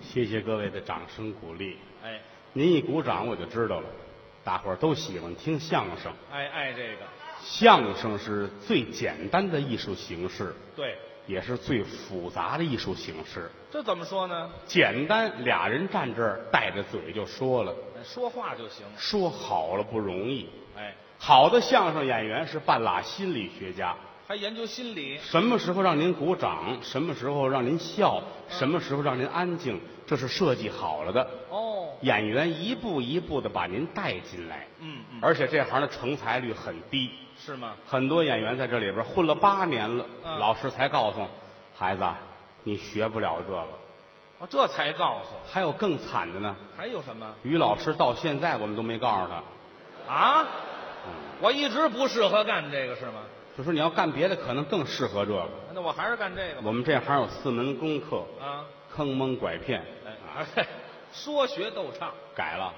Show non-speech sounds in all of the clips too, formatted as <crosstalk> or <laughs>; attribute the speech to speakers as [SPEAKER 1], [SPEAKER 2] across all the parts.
[SPEAKER 1] 谢谢各位的掌声鼓励。
[SPEAKER 2] 哎，
[SPEAKER 1] 您一鼓掌，我就知道了，大伙儿都喜欢听相声。
[SPEAKER 2] 爱爱这个，
[SPEAKER 1] 相声是最简单的艺术形式，
[SPEAKER 2] 对，
[SPEAKER 1] 也是最复杂的艺术形式。
[SPEAKER 2] 这怎么说呢？
[SPEAKER 1] 简单，俩人站这儿带着嘴就说了，
[SPEAKER 2] 说话就行。
[SPEAKER 1] 说好了不容易。
[SPEAKER 2] 哎，
[SPEAKER 1] 好的相声演员是半拉心理学家，
[SPEAKER 2] 还研究心理，
[SPEAKER 1] 什么时候让您鼓掌，什么时候让您笑，什么时候让您安静，这是设计好了的。
[SPEAKER 2] 哦，
[SPEAKER 1] 演员一步一步的把您带进来，
[SPEAKER 2] 嗯嗯，
[SPEAKER 1] 而且这行的成才率很低，
[SPEAKER 2] 是吗？
[SPEAKER 1] 很多演员在这里边混了八年了，
[SPEAKER 2] 嗯
[SPEAKER 1] 老师才告诉孩子啊，你学不了这个。
[SPEAKER 2] 哦，这才告诉。
[SPEAKER 1] 还有更惨的呢，
[SPEAKER 2] 还有什么
[SPEAKER 1] 于老师到现在我们都没告诉他，嗯
[SPEAKER 2] 啊？我一直不适合干这个是吗？
[SPEAKER 1] 就说你要干别的可能更适合这个。
[SPEAKER 2] 那我还是干这个吧。
[SPEAKER 1] 我们这行有四门功课，
[SPEAKER 2] 啊，
[SPEAKER 1] 坑蒙拐骗，
[SPEAKER 2] 哎， <laughs> 哎说学逗唱
[SPEAKER 1] 改了，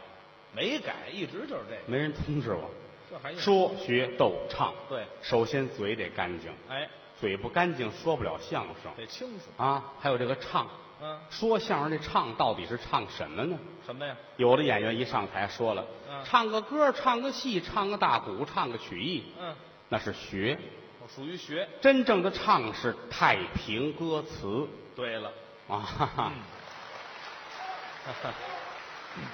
[SPEAKER 2] 没改，一直就是这个。
[SPEAKER 1] 没人通知我。
[SPEAKER 2] 这还用
[SPEAKER 1] 说学逗唱，
[SPEAKER 2] 对，
[SPEAKER 1] 首先嘴得干净，
[SPEAKER 2] 哎，
[SPEAKER 1] 嘴不干净说不了相声
[SPEAKER 2] 得清楚。
[SPEAKER 1] 啊。还有这个唱，
[SPEAKER 2] 嗯，
[SPEAKER 1] 说相声这唱到底是唱什么呢？
[SPEAKER 2] 什么呀？
[SPEAKER 1] 有的演员一上台说了，
[SPEAKER 2] 嗯
[SPEAKER 1] 唱个歌，唱个戏，唱个大鼓，唱个曲艺，
[SPEAKER 2] 嗯，
[SPEAKER 1] 那是学。
[SPEAKER 2] 我属于学。
[SPEAKER 1] 真正的唱是太平歌词
[SPEAKER 2] 对了，
[SPEAKER 1] 啊，哈哈
[SPEAKER 2] 嗯。
[SPEAKER 1] <laughs>
[SPEAKER 2] <laughs>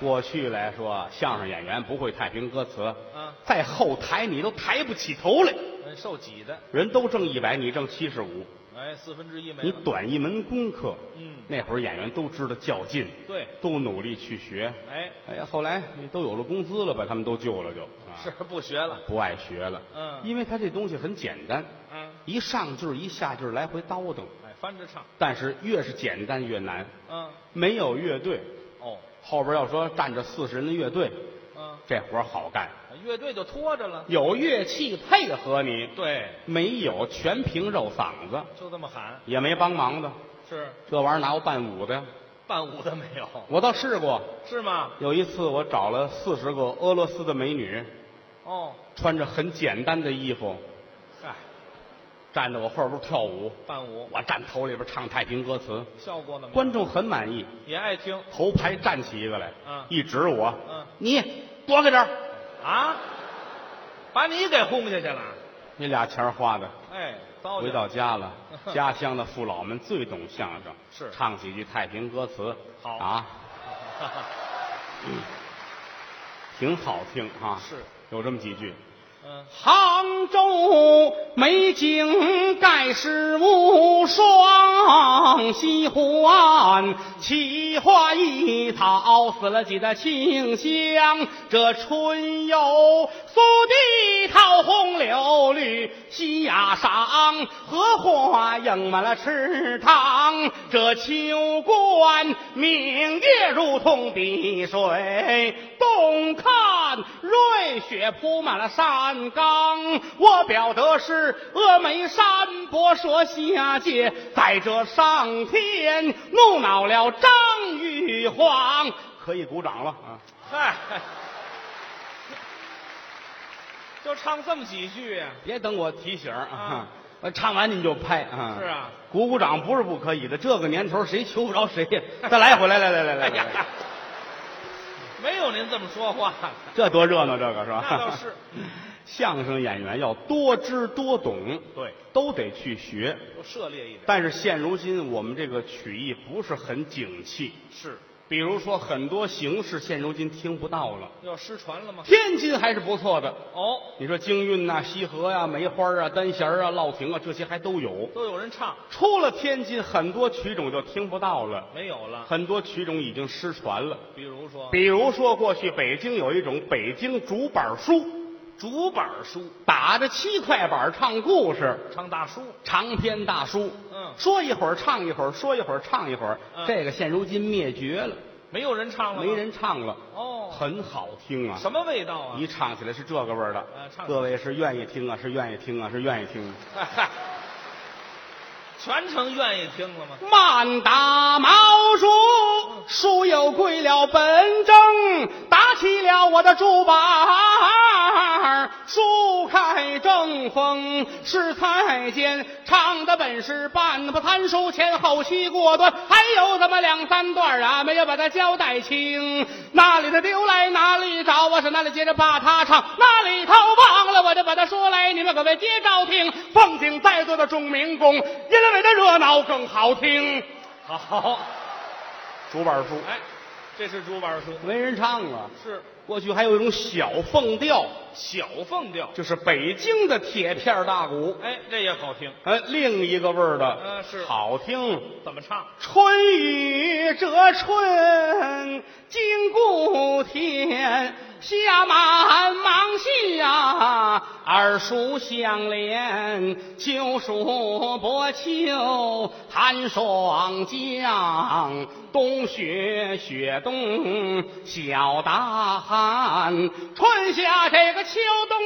[SPEAKER 1] 过去来说，相声演员不会太平歌词，
[SPEAKER 2] 嗯
[SPEAKER 1] 在后台你都抬不起头来，
[SPEAKER 2] 嗯受挤的，
[SPEAKER 1] 人都挣一百，你挣七十五，
[SPEAKER 2] 哎，四分之一没
[SPEAKER 1] 你
[SPEAKER 2] 了。
[SPEAKER 1] 短一门功课。
[SPEAKER 2] 嗯，
[SPEAKER 1] 那会儿演员都知道较劲，
[SPEAKER 2] 对，
[SPEAKER 1] 都努力去学。
[SPEAKER 2] 哎，
[SPEAKER 1] 哎呀，后来都有了工资了，把他们都救了就，啊
[SPEAKER 2] 是不学了。
[SPEAKER 1] 不爱学了。
[SPEAKER 2] 嗯
[SPEAKER 1] 因为他这东西很简单，
[SPEAKER 2] 嗯，
[SPEAKER 1] 一上句儿一下句儿来回叨叨，
[SPEAKER 2] 哎，翻着唱。
[SPEAKER 1] 但是越是简单越难。
[SPEAKER 2] 嗯，
[SPEAKER 1] 没有乐队，
[SPEAKER 2] 哦，
[SPEAKER 1] 后边要说站着四十人的乐队，
[SPEAKER 2] 嗯，
[SPEAKER 1] 这活儿好干，
[SPEAKER 2] 乐队就拖着了。
[SPEAKER 1] 有乐器配合你，
[SPEAKER 2] 对，
[SPEAKER 1] 没有全凭肉嗓子，
[SPEAKER 2] 就这么喊，
[SPEAKER 1] 也没帮忙的，
[SPEAKER 2] 是
[SPEAKER 1] 这玩意儿哪有伴舞的呀？
[SPEAKER 2] 伴舞的没有，
[SPEAKER 1] 我倒试过，
[SPEAKER 2] 是吗？
[SPEAKER 1] 有一次我找了四十个俄罗斯的美女，
[SPEAKER 2] 哦，
[SPEAKER 1] 穿着很简单的衣服，
[SPEAKER 2] 嗨，
[SPEAKER 1] 站在我后边跳舞，
[SPEAKER 2] 伴舞
[SPEAKER 1] 我站头里边唱太平歌词，
[SPEAKER 2] 效果怎么样？
[SPEAKER 1] 观众很满意，
[SPEAKER 2] 也爱听
[SPEAKER 1] 头排站起一个来，
[SPEAKER 2] 嗯
[SPEAKER 1] 一指我，
[SPEAKER 2] 嗯
[SPEAKER 1] 你躲开点儿
[SPEAKER 2] 啊，把你给轰下去了。
[SPEAKER 1] 那俩钱儿花的，
[SPEAKER 2] 哎，糟践，
[SPEAKER 1] 回到家了
[SPEAKER 2] <laughs>
[SPEAKER 1] 家乡的父老们最懂相声，
[SPEAKER 2] 是
[SPEAKER 1] 唱几句太平歌词，
[SPEAKER 2] 好
[SPEAKER 1] 啊，挺好听啊，
[SPEAKER 2] 是
[SPEAKER 1] 有这么几句。
[SPEAKER 2] <laughs> 嗯，
[SPEAKER 1] 杭州美景盖世无双，西湖岸奇花异草，死了几的清香。这春有苏堤桃红柳绿，西雅赏荷花映满了池塘。这秋观明月如同碧水，东看瑞雪铺满了山岗。我表的是峨眉山伯蛇下界，在这上天怒恼了张玉皇。可以鼓掌了啊！
[SPEAKER 2] 嗨， <laughs> 就唱这么几句呀、
[SPEAKER 1] 别等我提醒儿啊
[SPEAKER 2] 啊！
[SPEAKER 1] 我唱完你们就拍啊！
[SPEAKER 2] 是啊，
[SPEAKER 1] 鼓鼓掌不是不可以的。这个年头谁求不着
[SPEAKER 2] <laughs>
[SPEAKER 1] 谁呀？再来一回，来来来来来
[SPEAKER 2] 哎
[SPEAKER 1] 来
[SPEAKER 2] 呀 <laughs>
[SPEAKER 1] 来，，
[SPEAKER 2] 没有您这么说话的。
[SPEAKER 1] 这多热闹，这个是吧？
[SPEAKER 2] 那倒是。
[SPEAKER 1] 相声演员要多知多懂，
[SPEAKER 2] 对，
[SPEAKER 1] 都得去学。
[SPEAKER 2] 我涉猎一点。
[SPEAKER 1] 但是现如今我们这个曲艺不是很景气，
[SPEAKER 2] 是
[SPEAKER 1] 比如说很多形式现如今听不到了。
[SPEAKER 2] 要失传了吗？
[SPEAKER 1] 天津还是不错的，
[SPEAKER 2] 哦，
[SPEAKER 1] 你说京韵呐、西河呀、梅花啊、单弦啊、烙亭啊，这些还都有。
[SPEAKER 2] 都有人唱，
[SPEAKER 1] 出了天津，很多曲种就听不到了，
[SPEAKER 2] 没有了。
[SPEAKER 1] 很多曲种已经失传了。
[SPEAKER 2] 比如说
[SPEAKER 1] 比如说，过去北京有一种北京竹板书，
[SPEAKER 2] 竹板书，
[SPEAKER 1] 打着七块板唱故事，
[SPEAKER 2] 唱大书，
[SPEAKER 1] 长篇大书，
[SPEAKER 2] 嗯
[SPEAKER 1] 说一会儿唱一会儿，说一会儿唱一会儿，
[SPEAKER 2] 嗯
[SPEAKER 1] 这个现如今灭绝了，
[SPEAKER 2] 没有人唱了吗，
[SPEAKER 1] 没人唱了，
[SPEAKER 2] 哦，
[SPEAKER 1] 很好听啊，
[SPEAKER 2] 什么味道啊？
[SPEAKER 1] 一唱起来是这个味儿的
[SPEAKER 2] 呃唱，
[SPEAKER 1] 各位是愿意听啊，是愿意听啊，是愿意听啊。
[SPEAKER 2] 嗨嗨， <laughs> 全程愿意听了吗？
[SPEAKER 1] 慢打毛竹，
[SPEAKER 2] 嗯
[SPEAKER 1] 书又归了本正，打起了我的竹板儿，树开正风是太监，唱的本事半不贪书前后期过端，还有这么两三段啊，没有把它交代清。哪里的丢来哪里找啊，是哪里接着把它唱，哪里掏忘了我就把它说来，你们可别接着听。奉请在座的众民工，因为这热闹更好听。
[SPEAKER 2] 好，
[SPEAKER 1] 竹板书
[SPEAKER 2] 哎，这是竹板书，
[SPEAKER 1] 没人唱了。
[SPEAKER 2] 是
[SPEAKER 1] 过去还有一种小凤调，
[SPEAKER 2] 小凤调。
[SPEAKER 1] 就是北京的铁片大鼓，
[SPEAKER 2] 哎，这也好听。
[SPEAKER 1] 呃，另一个味儿的，
[SPEAKER 2] 嗯是
[SPEAKER 1] 好听。
[SPEAKER 2] 怎么唱？
[SPEAKER 1] 春雨折春经谷田，下满啊芒下，二叔相连，秋暑薄秋，寒霜降，冬雪雪冬，小大寒，春夏这个秋冬。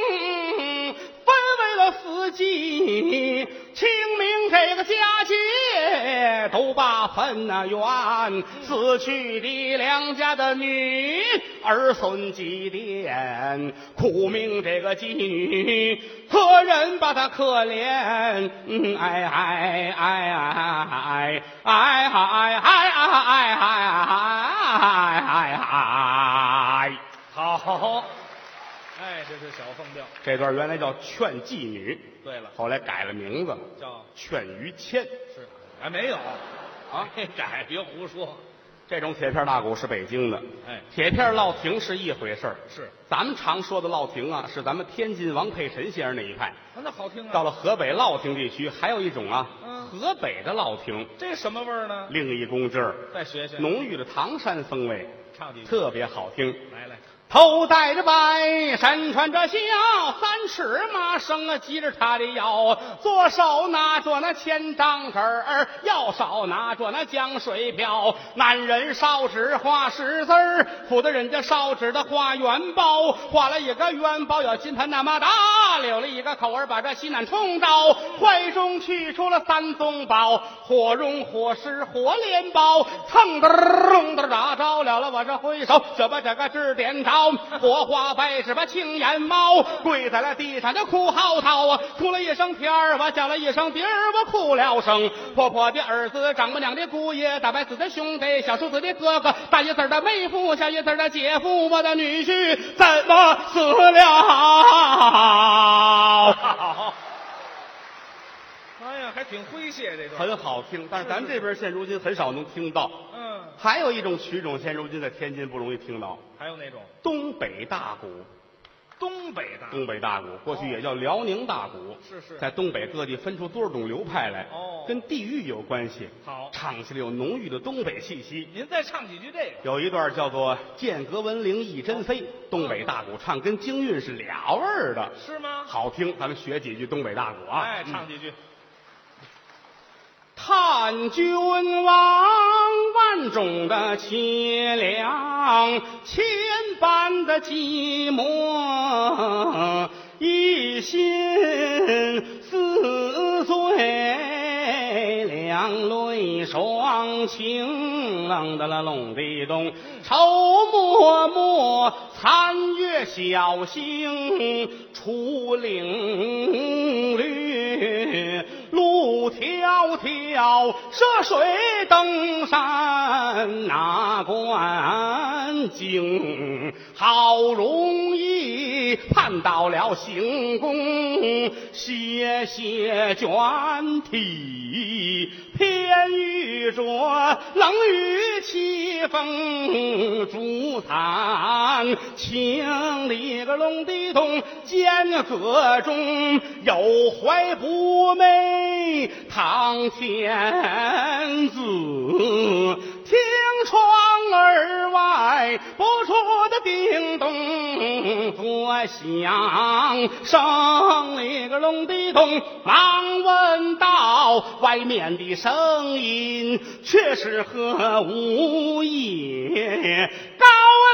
[SPEAKER 1] 分为了四季，清明这个佳节都把坟呐圆，死去的梁家的女儿孙祭奠，苦命这个妓女，何人把她可怜？嗯，哎哎哎哎哎哎哎哎哎哎哎哎哎！
[SPEAKER 2] 好，哎，这是小凤调。
[SPEAKER 1] 这段原来叫劝妓女。
[SPEAKER 2] 对了，
[SPEAKER 1] 后来改了名字了，
[SPEAKER 2] 叫
[SPEAKER 1] 劝于谦。
[SPEAKER 2] 是还哎没有
[SPEAKER 1] 啊
[SPEAKER 2] <laughs> 啊？改别胡说。
[SPEAKER 1] 这种铁片大鼓是北京的，
[SPEAKER 2] 哎
[SPEAKER 1] 铁片烙亭是一回事儿。
[SPEAKER 2] 是，
[SPEAKER 1] 咱们常说的烙亭啊，是咱们天津王佩臣先生那一派。
[SPEAKER 2] 啊那好听啊。
[SPEAKER 1] 到了河北烙亭地区，还有一种啊，
[SPEAKER 2] 嗯
[SPEAKER 1] 河北的烙亭，
[SPEAKER 2] 这什么味儿呢？
[SPEAKER 1] 另一股劲儿，
[SPEAKER 2] 再学学。
[SPEAKER 1] 浓郁的唐山风味，
[SPEAKER 2] 唱几句。
[SPEAKER 1] 特别好听。
[SPEAKER 2] 来来，
[SPEAKER 1] 头戴着白，身穿着孝，三尺麻绳啊系着他的腰，左手拿着那千张纸儿，右手拿着那浆水瓢。男人烧纸画十字儿，妇的人家烧纸的画元包，画了一个元包有金盆那么大，留了一个口儿把这西南冲着，怀中取出了三宗宝，火绒火石火镰包，蹭噔儿咚噔儿打着了了，我这挥手就把这个指点着，火花白纸把青眼猫跪在了地上就哭嚎啕啊，哭了一声天儿，我叫了一声爹儿，我哭了声，婆婆的儿子，丈母娘的姑爷，大白子的兄弟，小叔子的哥哥，大爷子儿的妹夫，小爷子儿的姐夫，我的女婿怎么死
[SPEAKER 2] 啊
[SPEAKER 1] 了？
[SPEAKER 2] <laughs> 哎呀，还挺诙谐这段。
[SPEAKER 1] 很好听，但是咱们这边现如今很少能听到。
[SPEAKER 2] 嗯，
[SPEAKER 1] 还有一种曲种，现如今在天津不容易听到，
[SPEAKER 2] 还有那种
[SPEAKER 1] 东北大鼓。
[SPEAKER 2] 东北的。
[SPEAKER 1] 东北大鼓过去也叫辽宁大鼓，
[SPEAKER 2] 哦是是
[SPEAKER 1] 在东北各地分出多少种流派来，
[SPEAKER 2] 哦
[SPEAKER 1] 跟地域有关系。
[SPEAKER 2] 好
[SPEAKER 1] 唱起来有浓郁的东北气息。
[SPEAKER 2] 您再唱几句这个。
[SPEAKER 1] 有一段叫做《剑阁闻铃一针飞》，东北大鼓唱跟京韵是俩味儿的，
[SPEAKER 2] 是吗？
[SPEAKER 1] 好听。咱们学几句东北大鼓啊。
[SPEAKER 2] 哎，唱几句。
[SPEAKER 1] 叹君王万种的凄凉，千般的寂寞，一心似醉，两泪双倾，啷的啦隆的咚，愁默默，残月小星，出岭绿，路迢迢，涉水登山，哪管经？好容易盼到了行宫，歇歇卷体，偏遇着冷雨凄风竹残，情里个隆的咚，间隔中有怀不寐，堂天子听窗而外不住的叮咚作响，声里个隆的咚，忙问道外面的声音却是何物也？高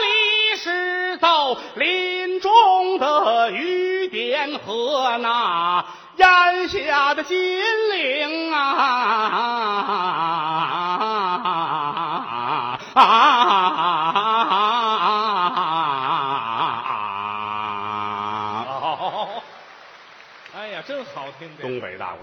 [SPEAKER 1] 丽是到林中的雨点和那檐下的金铃啊！ <laughs> 啊啊啊啊啊啊啊啊！
[SPEAKER 2] <laughs> 哎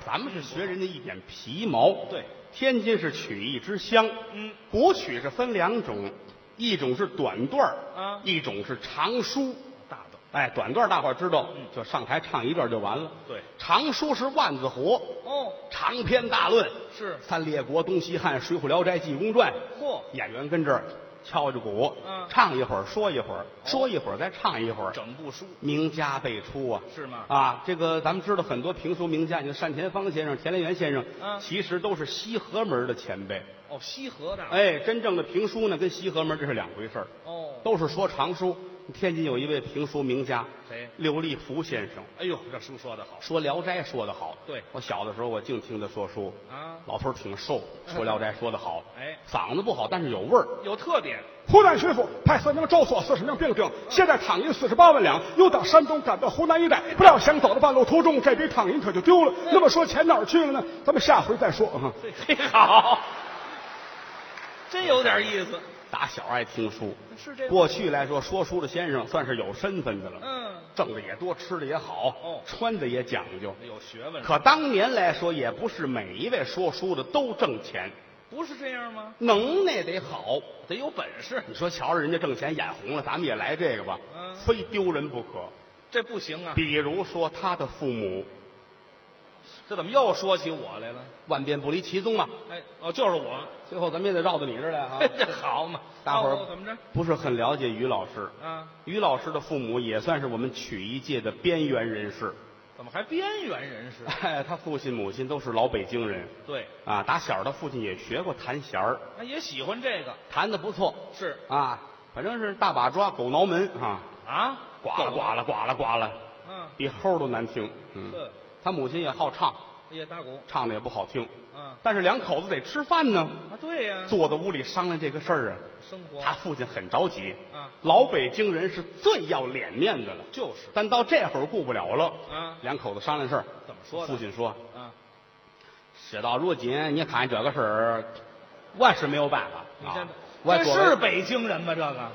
[SPEAKER 1] 咱们是学人家一点皮毛。
[SPEAKER 2] 嗯对，
[SPEAKER 1] 天津是曲艺之乡。
[SPEAKER 2] 嗯，
[SPEAKER 1] 国曲是分两种，一种是短段儿
[SPEAKER 2] 啊
[SPEAKER 1] 一种是长书。
[SPEAKER 2] 大的
[SPEAKER 1] 哎，短段儿大伙儿知道，
[SPEAKER 2] 嗯
[SPEAKER 1] 就上台唱一段就完了。
[SPEAKER 2] 对
[SPEAKER 1] 长书是万字活，
[SPEAKER 2] 哦，
[SPEAKER 1] 长篇大论
[SPEAKER 2] 是
[SPEAKER 1] 三列国、东西汉、水浒、聊斋、济公传。
[SPEAKER 2] 嚯
[SPEAKER 1] 演员跟这儿敲着鼓，
[SPEAKER 2] 嗯
[SPEAKER 1] 唱一会儿，说一会儿，说一会儿，再唱一会儿，
[SPEAKER 2] 整部书
[SPEAKER 1] 名家辈出啊。
[SPEAKER 2] 是吗？
[SPEAKER 1] 啊，这个咱们知道很多评书名家，你像单田芳先生、田连元先生，
[SPEAKER 2] 嗯
[SPEAKER 1] 其实都是西河门的前辈。
[SPEAKER 2] 哦，西河的，，
[SPEAKER 1] 哎，真正的评书呢，跟西河门这是两回事儿，
[SPEAKER 2] 哦，
[SPEAKER 1] 都是说长书。天津有一位评书名家，
[SPEAKER 2] 谁
[SPEAKER 1] 刘立福先生，
[SPEAKER 2] 哎呦，这书说的好
[SPEAKER 1] 说《聊斋》说得好。
[SPEAKER 2] 对
[SPEAKER 1] 我小的时候我净听他说书，
[SPEAKER 2] 啊，
[SPEAKER 1] 老头儿挺瘦，说《聊斋》说得好，
[SPEAKER 2] 哎
[SPEAKER 1] 嗓子不好，但是有味儿。
[SPEAKER 2] 有特点，
[SPEAKER 1] 湖南巡抚派三名州所四十名兵丁，现在躺银四十八万两，又打山东赶到湖南一带。不料想走的半路途中，这笔躺银可就丢了。那么说钱哪儿去了呢？咱们下回再说 <laughs> 啊。
[SPEAKER 2] 嘿嘿，好，真有点意思，
[SPEAKER 1] 打小爱听书，
[SPEAKER 2] 是这
[SPEAKER 1] 过去来说说书的先生算是有身份的了，
[SPEAKER 2] 嗯，
[SPEAKER 1] 挣的也多，吃的也好
[SPEAKER 2] 哦，
[SPEAKER 1] 穿的也讲究。
[SPEAKER 2] 有哎学问，
[SPEAKER 1] 可当年来说，也不是每一位说书的都挣钱，
[SPEAKER 2] 不是这样吗？
[SPEAKER 1] 能耐得好。
[SPEAKER 2] 得有本事，
[SPEAKER 1] 你说瞧着人家挣钱眼红了，咱们也来这个吧，
[SPEAKER 2] 嗯
[SPEAKER 1] 非丢人不可。
[SPEAKER 2] 这不行啊！
[SPEAKER 1] 比如说他的父母
[SPEAKER 2] 这怎么又说起我来了？
[SPEAKER 1] 万变不离其宗啊，
[SPEAKER 2] 哎，哦，就是我，。
[SPEAKER 1] 最后咱们也得绕到你这儿来啊
[SPEAKER 2] 这好嘛？
[SPEAKER 1] 大伙
[SPEAKER 2] 哦怎么
[SPEAKER 1] 儿
[SPEAKER 2] 着？
[SPEAKER 1] 不是很了解于老师，
[SPEAKER 2] 啊，
[SPEAKER 1] 于老师的父母也算是我们曲艺界的边缘人士，
[SPEAKER 2] 怎么还边缘人士？
[SPEAKER 1] 哎，他父亲母亲都是老北京人
[SPEAKER 2] 对，
[SPEAKER 1] 啊，打小他父亲也学过弹弦儿，
[SPEAKER 2] 他也喜欢这个，
[SPEAKER 1] 弹的不错
[SPEAKER 2] 是
[SPEAKER 1] 啊，反正是大把抓狗挠门啊，
[SPEAKER 2] 啊，
[SPEAKER 1] 呱啦
[SPEAKER 2] 狗
[SPEAKER 1] 呱，啦呱啦呱啦，
[SPEAKER 2] 嗯，
[SPEAKER 1] 比齁都难听。嗯，
[SPEAKER 2] 是，
[SPEAKER 1] 他母亲也好唱，
[SPEAKER 2] 也哎大鼓，
[SPEAKER 1] 唱的也不好听，
[SPEAKER 2] 嗯，
[SPEAKER 1] 但是两口子得吃饭呢，
[SPEAKER 2] 啊，对呀，
[SPEAKER 1] 坐在屋里商量这个事儿啊。
[SPEAKER 2] 生活
[SPEAKER 1] 他父亲很着急
[SPEAKER 2] 啊，
[SPEAKER 1] 老北京人是最要脸面的了，
[SPEAKER 2] 就是
[SPEAKER 1] 但到这会儿顾不了了。
[SPEAKER 2] 啊
[SPEAKER 1] 两口子商量事儿，
[SPEAKER 2] 怎么说的
[SPEAKER 1] 父亲说
[SPEAKER 2] 啊，：“
[SPEAKER 1] 事到如今，你看这个事儿，我是没有办
[SPEAKER 2] 你
[SPEAKER 1] 法啊
[SPEAKER 2] 先，。
[SPEAKER 1] 我
[SPEAKER 2] 这
[SPEAKER 1] 作
[SPEAKER 2] 是
[SPEAKER 1] 为
[SPEAKER 2] 北京人吗？这个，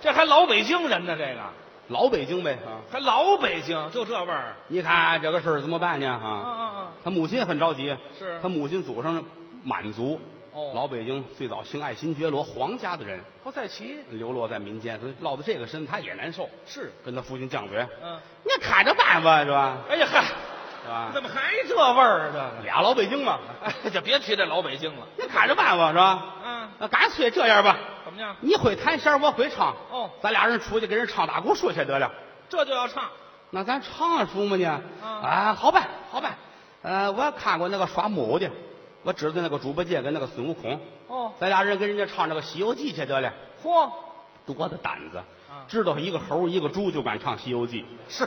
[SPEAKER 2] 这还老北京人呢？这个
[SPEAKER 1] 老北京呗啊。
[SPEAKER 2] 还老北京，就这味儿。
[SPEAKER 1] 你看这个事儿怎么办呢？啊，
[SPEAKER 2] 啊
[SPEAKER 1] 他母亲也很着急，
[SPEAKER 2] 是
[SPEAKER 1] 他母亲祖上满族，
[SPEAKER 2] 哦
[SPEAKER 1] 老北京最早兴爱新觉罗皇家的人，
[SPEAKER 2] 不在齐
[SPEAKER 1] 流落在民间，所以落到这个身，他也难受，
[SPEAKER 2] 是，
[SPEAKER 1] 跟他父亲犟嘴，
[SPEAKER 2] 嗯，
[SPEAKER 1] 你看着办吧，是吧？
[SPEAKER 2] 哎呀嗨，
[SPEAKER 1] 是吧？
[SPEAKER 2] 怎么还这味儿啊？
[SPEAKER 1] 俩老北京嘛， <laughs>
[SPEAKER 2] 这个，哎，就别提这老北京了。
[SPEAKER 1] 你看着办吧，是吧？
[SPEAKER 2] 啊，
[SPEAKER 1] 那干脆这样吧，
[SPEAKER 2] 怎么样？
[SPEAKER 1] 你会弹弦，我会唱，
[SPEAKER 2] 哦
[SPEAKER 1] 咱俩人出去给人唱打鼓说去得了。
[SPEAKER 2] 这就要唱，
[SPEAKER 1] 那咱唱出嘛呢？
[SPEAKER 2] 嗯
[SPEAKER 1] 啊，好办，好办。呃，我看过那个耍木偶的，我知道那个猪八戒跟那个孙悟空，
[SPEAKER 2] 哦，
[SPEAKER 1] 咱俩人跟人家唱那个《西游记》去得了。
[SPEAKER 2] 嚯，
[SPEAKER 1] 多大胆子
[SPEAKER 2] 啊！
[SPEAKER 1] 知道一个猴一个猪就敢唱《西游记》，
[SPEAKER 2] 是，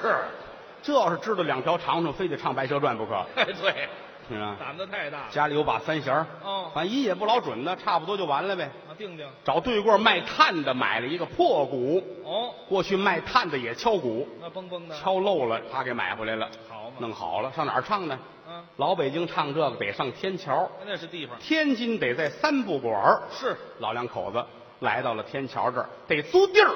[SPEAKER 1] 这要是知道两条长虫，非得唱《白蛇传》不可，
[SPEAKER 2] 哎对，
[SPEAKER 1] 是吧？
[SPEAKER 2] 胆子太大了。
[SPEAKER 1] 家里有把三弦儿
[SPEAKER 2] 哦
[SPEAKER 1] 反正音也不老准呢，差不多就完了呗。
[SPEAKER 2] 啊，定定，
[SPEAKER 1] 找对过卖炭的买了一个破鼓，
[SPEAKER 2] 哦，
[SPEAKER 1] 过去卖炭的也敲鼓，
[SPEAKER 2] 那蹦蹦的，
[SPEAKER 1] 敲漏了，他给买回来了，
[SPEAKER 2] 好嘛
[SPEAKER 1] 弄好了，上哪儿唱呢？
[SPEAKER 2] 啊，
[SPEAKER 1] 老北京唱这个得上天桥，
[SPEAKER 2] 那是地方，
[SPEAKER 1] 天津得在三不管儿
[SPEAKER 2] 是
[SPEAKER 1] 老两口子来到了天桥这儿，得租地儿，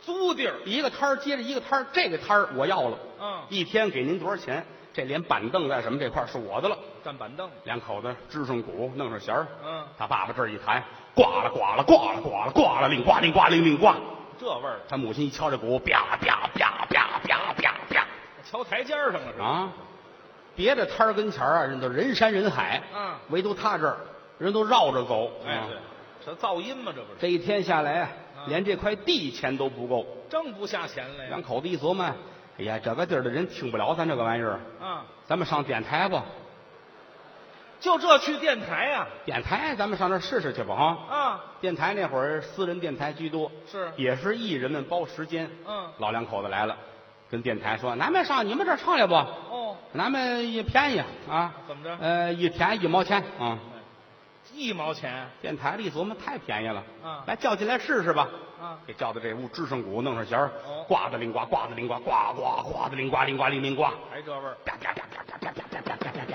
[SPEAKER 2] 租地儿，
[SPEAKER 1] 一个摊儿接着一个摊儿，这个摊儿我要了，
[SPEAKER 2] 嗯，
[SPEAKER 1] 一天给您多少钱？这连板凳带什么这块儿是我的了。
[SPEAKER 2] 站板凳，
[SPEAKER 1] 两口子支上鼓，弄上弦儿，
[SPEAKER 2] 嗯
[SPEAKER 1] 他爸爸这儿一弹，呱啦呱啦呱啦呱啦呱啦，令呱令呱令令呱。
[SPEAKER 2] 这味儿，
[SPEAKER 1] 他母亲一敲这鼓，啪啪啪啪啪啪啪
[SPEAKER 2] 瞧台阶儿上了是吧？
[SPEAKER 1] 啊！别的摊儿跟前儿啊，人都人山人海，
[SPEAKER 2] 嗯
[SPEAKER 1] 唯独他这儿人都绕着走。
[SPEAKER 2] 哎
[SPEAKER 1] 啊，
[SPEAKER 2] 对，这噪音嘛，这不是
[SPEAKER 1] 这一天下来啊，
[SPEAKER 2] 嗯
[SPEAKER 1] 连这块地钱都不够。
[SPEAKER 2] 挣不下钱来
[SPEAKER 1] 两
[SPEAKER 2] 呀？
[SPEAKER 1] 口子一琢磨，哎呀，这个地儿的人听不了咱这个玩意儿，
[SPEAKER 2] 啊，
[SPEAKER 1] 咱们上电台吧，
[SPEAKER 2] 就这去电台呀？
[SPEAKER 1] 电台咱们上那儿试试去吧，哈。
[SPEAKER 2] 啊，
[SPEAKER 1] 电台那会儿私人电台居多，
[SPEAKER 2] 是，
[SPEAKER 1] 也是艺人们包时间。
[SPEAKER 2] 嗯，
[SPEAKER 1] 老两口子来了，跟电台说：“咱们上你们这儿唱来吧，
[SPEAKER 2] 哦，
[SPEAKER 1] 咱们也便宜啊，
[SPEAKER 2] 怎么着？
[SPEAKER 1] 呃，一天一毛钱啊。
[SPEAKER 2] 一毛钱
[SPEAKER 1] 电台里琢磨太便宜了，
[SPEAKER 2] 啊
[SPEAKER 1] 来叫进来试试吧。
[SPEAKER 2] 啊？
[SPEAKER 1] 给叫到这屋，支上鼓，弄上弦儿
[SPEAKER 2] 哦，
[SPEAKER 1] 呱的铃呱，呱的铃呱，呱呱呱的铃呱，铃呱铃铃呱，
[SPEAKER 2] 还这味儿？
[SPEAKER 1] 啪啪啪啪啪啪啪啪啪啪啪啪。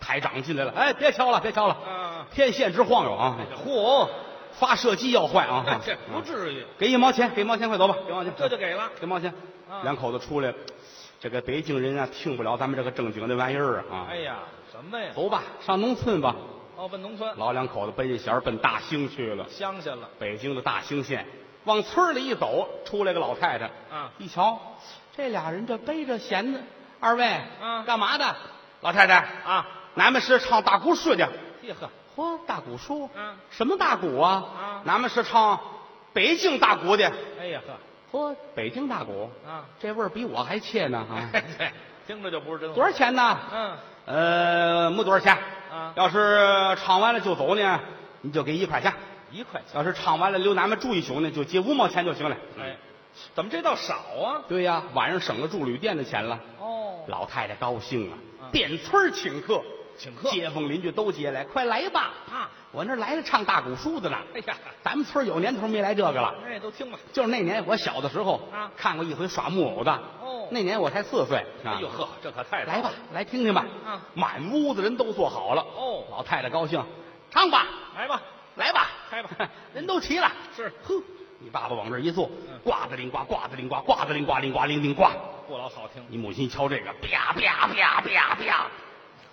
[SPEAKER 1] 台长进来了，哎，别敲了，别敲了，
[SPEAKER 2] 啊，
[SPEAKER 1] 天线直晃悠啊，
[SPEAKER 2] 哎嚯，，
[SPEAKER 1] 发射机要坏啊
[SPEAKER 2] <laughs> 这不至于，
[SPEAKER 1] 给一毛钱，给一毛钱，快走吧，给一毛钱，
[SPEAKER 2] 这就给了。
[SPEAKER 1] 给毛钱
[SPEAKER 2] 啊。
[SPEAKER 1] 两口子出来，这个北京人啊，听不了咱们这个正经的玩意儿啊。
[SPEAKER 2] 哎，呀，什么呀？
[SPEAKER 1] 走吧，上农村吧。
[SPEAKER 2] 哦，奔农村
[SPEAKER 1] 老两口子奔着弦儿奔大兴去了，
[SPEAKER 2] 乡下了。
[SPEAKER 1] 北京的大兴县。往村里一走，出来个老太太。
[SPEAKER 2] 嗯
[SPEAKER 1] 一瞧，这俩人这背着弦子，二位，
[SPEAKER 2] 嗯
[SPEAKER 1] 干嘛的？老太太啊，咱们是唱大鼓睡的。
[SPEAKER 2] 嘿呵，
[SPEAKER 1] 嚯，大鼓书，
[SPEAKER 2] 嗯
[SPEAKER 1] 什么大鼓啊？
[SPEAKER 2] 嗯
[SPEAKER 1] 咱们是唱北京大鼓的。
[SPEAKER 2] 哎呀呵，
[SPEAKER 1] 嚯，北京大鼓，
[SPEAKER 2] 啊，
[SPEAKER 1] 这味儿比我还切呢
[SPEAKER 2] <laughs>
[SPEAKER 1] 啊！
[SPEAKER 2] 哎对，听着就不是真话。
[SPEAKER 1] 多少钱呢？
[SPEAKER 2] 嗯，
[SPEAKER 1] 呃，没多少钱。
[SPEAKER 2] 嗯
[SPEAKER 1] 要是唱完了就走呢，你就给一块钱；
[SPEAKER 2] 一块钱。
[SPEAKER 1] 要是唱完了留咱们住一宿呢，就结五毛钱就行了。
[SPEAKER 2] 哎，怎么这倒少啊？
[SPEAKER 1] 对呀，晚上省了住旅店的钱了。
[SPEAKER 2] 哦，
[SPEAKER 1] 老太太高兴了，
[SPEAKER 2] 嗯
[SPEAKER 1] 点村儿请客，
[SPEAKER 2] 请客
[SPEAKER 1] 街坊邻居都接来，快来吧！
[SPEAKER 2] 啊，
[SPEAKER 1] 我那儿来了唱大鼓书的呢。
[SPEAKER 2] 哎呀，
[SPEAKER 1] 咱们村儿有年头没来这个了，
[SPEAKER 2] 哎，都听吧。
[SPEAKER 1] 就是那年我小的时候
[SPEAKER 2] 啊
[SPEAKER 1] 看过一回耍木偶的。
[SPEAKER 2] 哦
[SPEAKER 1] 那年我才四岁。啊
[SPEAKER 2] 哎呦呵，这可太
[SPEAKER 1] 来吧，来听听吧。
[SPEAKER 2] 嗯
[SPEAKER 1] 满屋子人都坐好了。
[SPEAKER 2] 哦
[SPEAKER 1] 老太太高兴，唱吧，
[SPEAKER 2] 来吧，
[SPEAKER 1] 来吧，
[SPEAKER 2] 开吧
[SPEAKER 1] 人都齐了。
[SPEAKER 2] <laughs> 是
[SPEAKER 1] 哼，你爸爸往这儿一坐
[SPEAKER 2] 嗯，
[SPEAKER 1] 呱子铃呱，呱子铃呱，呱子铃呱，铃呱铃铃呱。
[SPEAKER 2] 不老好听，
[SPEAKER 1] 你母亲一敲这个，啪啪啪啪啪，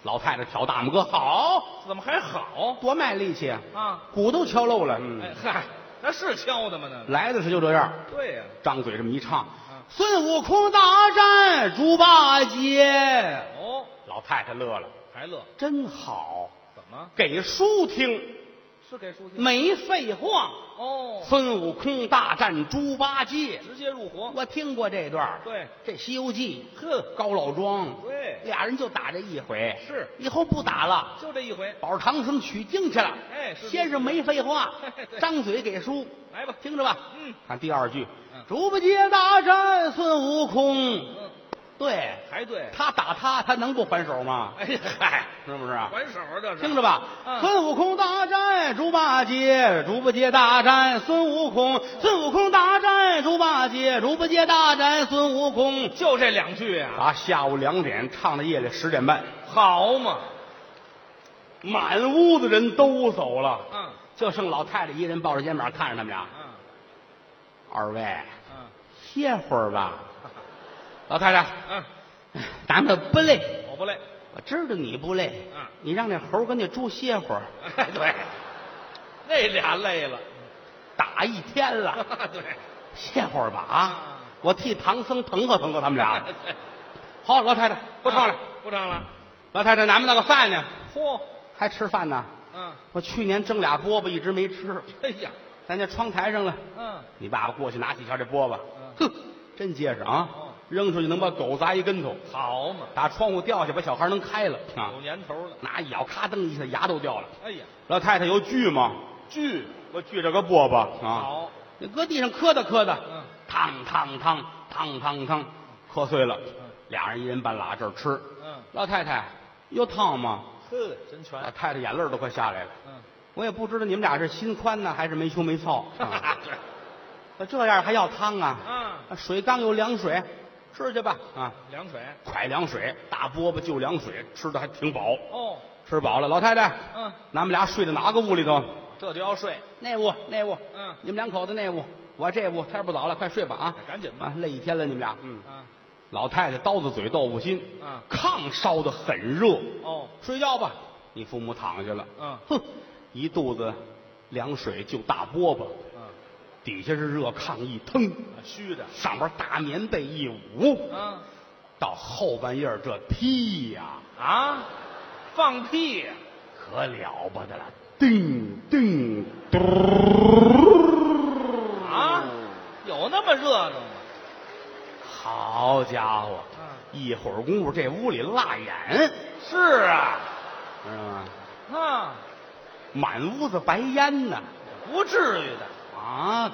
[SPEAKER 1] 老太太挑大拇哥，好，
[SPEAKER 2] 怎么还好？
[SPEAKER 1] 多卖力气啊！
[SPEAKER 2] 啊，
[SPEAKER 1] 鼓都敲漏了。嗯
[SPEAKER 2] 哦哎嗨，那是敲的吗？那
[SPEAKER 1] 来的时候就这样，
[SPEAKER 2] 对呀、
[SPEAKER 1] 张嘴这么一唱
[SPEAKER 2] 嗯，
[SPEAKER 1] 孙悟空大战猪八戒。
[SPEAKER 2] 哦，
[SPEAKER 1] 老太太乐了，
[SPEAKER 2] 还乐，
[SPEAKER 1] 真好，
[SPEAKER 2] 怎么
[SPEAKER 1] 给书听，
[SPEAKER 2] 是给书记？
[SPEAKER 1] 没废话。
[SPEAKER 2] 哦，
[SPEAKER 1] 孙悟空大战猪八戒，
[SPEAKER 2] 直接入伙。
[SPEAKER 1] 我听过这段儿。
[SPEAKER 2] 对，
[SPEAKER 1] 这《西游记》
[SPEAKER 2] 呵，
[SPEAKER 1] 高老庄，
[SPEAKER 2] 对
[SPEAKER 1] 俩人就打这一回，
[SPEAKER 2] 是
[SPEAKER 1] 以后不打了。
[SPEAKER 2] 就这一回，
[SPEAKER 1] 保长生取经去了。
[SPEAKER 2] 哎是
[SPEAKER 1] 先是没废话
[SPEAKER 2] 对，
[SPEAKER 1] 张嘴给书，
[SPEAKER 2] 来吧。
[SPEAKER 1] 听着吧。
[SPEAKER 2] 嗯，
[SPEAKER 1] 看第二句
[SPEAKER 2] 嗯，
[SPEAKER 1] 猪八戒大战孙悟空。
[SPEAKER 2] 嗯，
[SPEAKER 1] 对
[SPEAKER 2] 还对。
[SPEAKER 1] 他打他，他能不还手吗？
[SPEAKER 2] 哎呀，
[SPEAKER 1] 嗨，是不是啊？
[SPEAKER 2] 还手啊这是。
[SPEAKER 1] 听着吧，
[SPEAKER 2] 嗯
[SPEAKER 1] 孙悟空大战猪八戒，猪八戒大战孙悟空，孙悟空大战猪八戒，猪八戒大战孙悟空。
[SPEAKER 2] 就这两句啊，
[SPEAKER 1] 打下午两点唱到夜里十点半，
[SPEAKER 2] 好嘛，
[SPEAKER 1] 满屋子人都走了。
[SPEAKER 2] 嗯
[SPEAKER 1] 就剩老太太一人抱着肩膀看着他们俩。
[SPEAKER 2] 嗯
[SPEAKER 1] 二位
[SPEAKER 2] 嗯
[SPEAKER 1] 歇会儿吧，老太太，
[SPEAKER 2] 嗯，
[SPEAKER 1] 咱们不累，
[SPEAKER 2] 我不累。
[SPEAKER 1] 我知道你不累。
[SPEAKER 2] 嗯
[SPEAKER 1] 你让那猴跟那猪歇会
[SPEAKER 2] <laughs>
[SPEAKER 1] 儿，
[SPEAKER 2] 哎，对，那俩累了。
[SPEAKER 1] 打一天了，
[SPEAKER 2] <laughs> 对，
[SPEAKER 1] 歇会儿吧啊！我替唐僧腾和腾和他们俩。
[SPEAKER 2] <laughs> 对
[SPEAKER 1] 好，老太太不唱了。，
[SPEAKER 2] 不唱了。
[SPEAKER 1] 老太太，咱们那个饭呢？
[SPEAKER 2] 嚯，
[SPEAKER 1] 还吃饭呢？
[SPEAKER 2] 嗯，
[SPEAKER 1] 我去年蒸俩饽饽，一直没吃，
[SPEAKER 2] 哎呀，
[SPEAKER 1] 咱家窗台上了。
[SPEAKER 2] 嗯，
[SPEAKER 1] 你爸爸过去拿起瞧这饽饽
[SPEAKER 2] 嗯，
[SPEAKER 1] 哼，真结实啊
[SPEAKER 2] 哦！
[SPEAKER 1] 扔出去能把狗砸一跟头。
[SPEAKER 2] 好嘛，
[SPEAKER 1] 打窗户掉下，把小孩能开了啊！
[SPEAKER 2] 有年头了。
[SPEAKER 1] 拿一咬，咔噔一下，牙都掉了。
[SPEAKER 2] 哎呀，
[SPEAKER 1] 老太太有锯吗？锯，我锯着个饽饽啊！
[SPEAKER 2] 好，
[SPEAKER 1] 你搁地上磕哒磕哒，
[SPEAKER 2] 嗯，
[SPEAKER 1] 嘡嘡嘡嘡嘡嘡，磕碎了
[SPEAKER 2] 嗯。
[SPEAKER 1] 俩人一人半拉这儿吃。
[SPEAKER 2] 嗯，
[SPEAKER 1] 老太太有烫吗？
[SPEAKER 2] 呵，真全
[SPEAKER 1] 老。太太眼泪都快下来了。
[SPEAKER 2] 嗯，
[SPEAKER 1] 我也不知道你们俩是心宽呢，还是没羞没臊。啊
[SPEAKER 2] <laughs> 对，
[SPEAKER 1] <laughs> 那这样还要汤啊？
[SPEAKER 2] 啊，
[SPEAKER 1] 啊水缸有凉水，吃去吧啊！
[SPEAKER 2] 凉水。
[SPEAKER 1] 快凉水，大饽饽就凉水，吃的还挺饱。
[SPEAKER 2] 哦，
[SPEAKER 1] 吃饱了，老太太，
[SPEAKER 2] 嗯，
[SPEAKER 1] 咱们俩睡在哪个屋里头？
[SPEAKER 2] 这就要睡。
[SPEAKER 1] 那屋，那屋。
[SPEAKER 2] 嗯哎
[SPEAKER 1] 你们两口子那屋，我这屋。天不早了，快睡吧啊！
[SPEAKER 2] 赶紧吧
[SPEAKER 1] 啊，累一天了，你们俩。嗯，
[SPEAKER 2] 啊，
[SPEAKER 1] 老太太刀子嘴豆腐心，
[SPEAKER 2] 嗯
[SPEAKER 1] 炕烧的很热。
[SPEAKER 2] 哦，
[SPEAKER 1] 睡觉吧，你父母躺下了。
[SPEAKER 2] 嗯
[SPEAKER 1] 哼，一肚子凉水就大饽饽，
[SPEAKER 2] 嗯，
[SPEAKER 1] 底下是热炕一腾，
[SPEAKER 2] 虚啊的。
[SPEAKER 1] 上边大棉被一捂，
[SPEAKER 2] 嗯
[SPEAKER 1] 到后半夜儿这屁呀、
[SPEAKER 2] 啊，放屁呀！
[SPEAKER 1] 可了不得了，叮叮嘟
[SPEAKER 2] 啊，有那么热闹吗？
[SPEAKER 1] 好家伙，
[SPEAKER 2] 嗯
[SPEAKER 1] 一会儿功夫这屋里辣眼，
[SPEAKER 2] 是啊，
[SPEAKER 1] 知道吗？
[SPEAKER 2] 啊，
[SPEAKER 1] 满屋子白烟呢，
[SPEAKER 2] 不至于的。
[SPEAKER 1] 啊！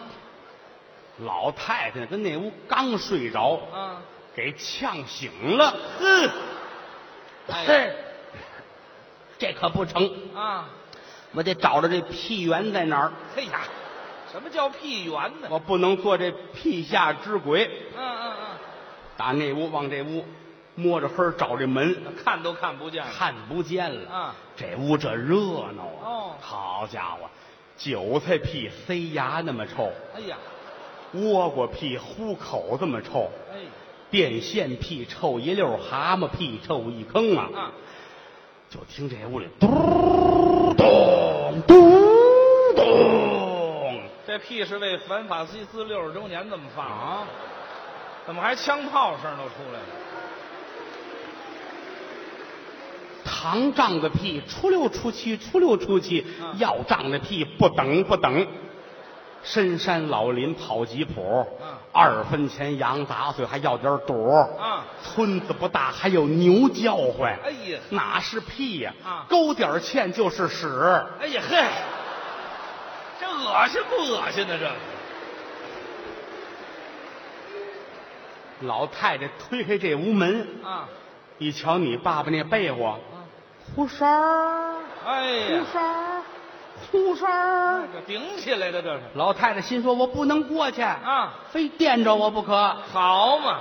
[SPEAKER 1] 老太太跟那屋刚睡着，
[SPEAKER 2] 啊，
[SPEAKER 1] 给呛醒了，哼，
[SPEAKER 2] 哎
[SPEAKER 1] 嘿，这可不成，
[SPEAKER 2] 啊，
[SPEAKER 1] 我得找着这屁源在哪儿，
[SPEAKER 2] 哎呀，什么叫屁源呢？
[SPEAKER 1] 我不能做这屁下之鬼。
[SPEAKER 2] 嗯嗯
[SPEAKER 1] 打那屋往这屋摸着黑儿找这门，
[SPEAKER 2] 嗯，看都看不见了。
[SPEAKER 1] 看不见了。
[SPEAKER 2] 啊，
[SPEAKER 1] 这屋这热闹啊！
[SPEAKER 2] 哦
[SPEAKER 1] 好家伙，韭菜屁塞牙那么臭，
[SPEAKER 2] 哎呀，
[SPEAKER 1] 倭瓜屁虎口这么臭，
[SPEAKER 2] 哎，
[SPEAKER 1] 电线屁臭一溜儿，蛤蟆屁臭一坑啊！
[SPEAKER 2] 啊，
[SPEAKER 1] 就听这屋里嘟儿咚嘟儿咚
[SPEAKER 2] 这屁是为反法西斯六十周年这么放啊？
[SPEAKER 1] 啊！
[SPEAKER 2] 怎么还枪炮声都出来了？
[SPEAKER 1] 糖胀的屁初六初七，初六初七
[SPEAKER 2] 啊；
[SPEAKER 1] 要胀的屁不等不等。深山老林跑吉普
[SPEAKER 2] 啊，
[SPEAKER 1] 二分钱羊杂碎还要点儿朵儿
[SPEAKER 2] 啊
[SPEAKER 1] 村子不大，还有牛叫唤。
[SPEAKER 2] 哎呀，
[SPEAKER 1] 哪是屁呀、
[SPEAKER 2] 啊
[SPEAKER 1] 勾点儿芡就是屎。
[SPEAKER 2] 哎呀嘿，这恶心不恶心呢？这个
[SPEAKER 1] 老太太推开这屋门，
[SPEAKER 2] 啊
[SPEAKER 1] 一瞧你爸爸那被窝，
[SPEAKER 2] 啊，
[SPEAKER 1] 胡哨儿，
[SPEAKER 2] 哎
[SPEAKER 1] 胡
[SPEAKER 2] 呀，
[SPEAKER 1] 哨儿，胡哨儿。
[SPEAKER 2] 这顶起来的这是
[SPEAKER 1] 老太太心说：“我不能过去，
[SPEAKER 2] 啊，
[SPEAKER 1] 非惦着我不可。
[SPEAKER 2] 好嘛，”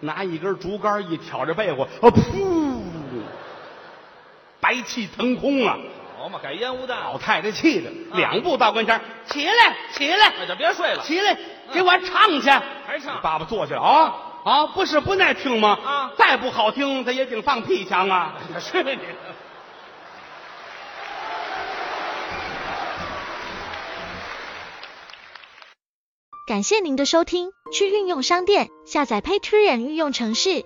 [SPEAKER 1] 拿一根竹竿一挑着被窝，啊噗，白气腾空啊！
[SPEAKER 2] 好嘛，改烟雾弹
[SPEAKER 1] 老，太太气的两步到跟前儿，起来，起来，
[SPEAKER 2] 哎那就别睡了，
[SPEAKER 1] 起来，给我唱去。
[SPEAKER 2] 还唱
[SPEAKER 1] 爸爸坐下了啊啊！不是不耐听吗？
[SPEAKER 2] 啊
[SPEAKER 1] 再不好听，他也顶放屁强
[SPEAKER 2] <laughs>
[SPEAKER 1] 啊！
[SPEAKER 2] 去你的！
[SPEAKER 3] 感谢您的收听，去运用商店下载 Patreon 运用城市，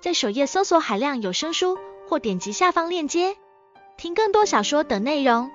[SPEAKER 3] 在首页搜索海量有声书，或点击下方链接听更多小说等内容。